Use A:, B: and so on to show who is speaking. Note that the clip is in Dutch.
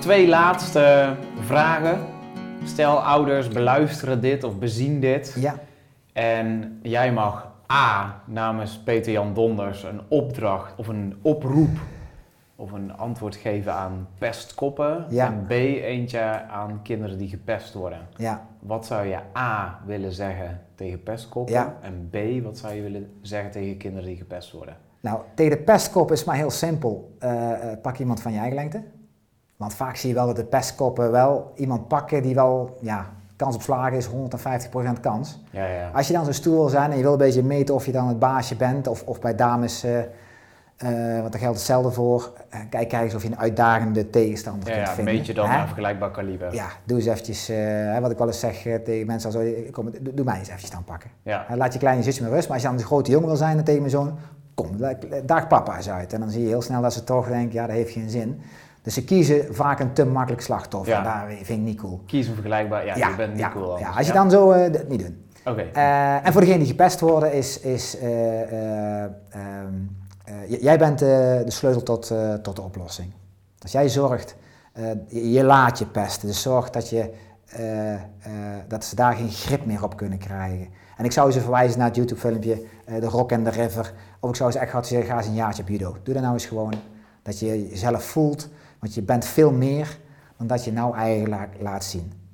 A: twee laatste vragen. Stel, ouders beluisteren dit of bezien dit.
B: Ja.
A: En jij mag A namens Peter Jan Donders een opdracht of een oproep of een antwoord geven aan pestkoppen.
B: Ja.
A: En B eentje aan kinderen die gepest worden.
B: Ja.
A: Wat zou je A willen zeggen tegen pestkoppen?
B: Ja.
A: En B, wat zou je willen zeggen tegen kinderen die gepest worden?
B: Nou, tegen de pestkop is maar heel simpel. Eh, eh, pak iemand van je eigen lengte. Want vaak zie je wel dat de pestkoppen wel iemand pakken die wel, ja, kans op slagen is 150% kans.
A: Ja, ja.
B: Als je dan zo'n stoer wil zijn en je wil een beetje meten of je dan het baasje bent, of, of bij dames, eh, eh, want daar geldt hetzelfde voor, eh, kijk, kijk eens of je een uitdagende tegenstander
A: Ja,
B: kunt
A: ja, een
B: vinden.
A: beetje dan
B: hè?
A: aan vergelijkbaar kaliber.
B: Ja, doe eens eventjes, eh, hè, wat ik wel eens zeg eh, tegen mensen, als, eh, kom, doe, doe mij eens eventjes dan pakken.
A: Ja.
B: Hè, Laat je kleine zusje maar rust, maar als je dan een grote jongen wil zijn en tegen mijn zoon, kom, la- daag papa eens uit. En dan zie je heel snel dat ze toch denken, ja, dat heeft geen zin. Dus ze kiezen vaak een te makkelijk slachtoffer.
A: Ja.
B: En daar vind ik niet cool.
A: Kies een vergelijkbaar. Ja, je bent niet
B: ja,
A: cool
B: ja.
A: anders.
B: als je
A: Ja.
B: dan zo, eh, dat niet doen.
A: Oké.
B: Eh, en voor degenen die gepest worden, is, is eh, eh, ehm, eh, j- jij bent eh, de sleutel tot, eh, tot de oplossing. Dus jij zorgt, eh, je, je laat je pesten, dus zorg dat, je, eh, eh, dat ze daar geen grip meer op kunnen krijgen. En ik zou ze verwijzen naar het YouTube-filmpje eh, De Rock and the River. Of ik zou ze echt adviseren, ga eens een jaartje op judo. Doe dat nou eens gewoon. Dat je jezelf voelt, want je bent veel meer dan dat je nou eigenlijk la- laat zien.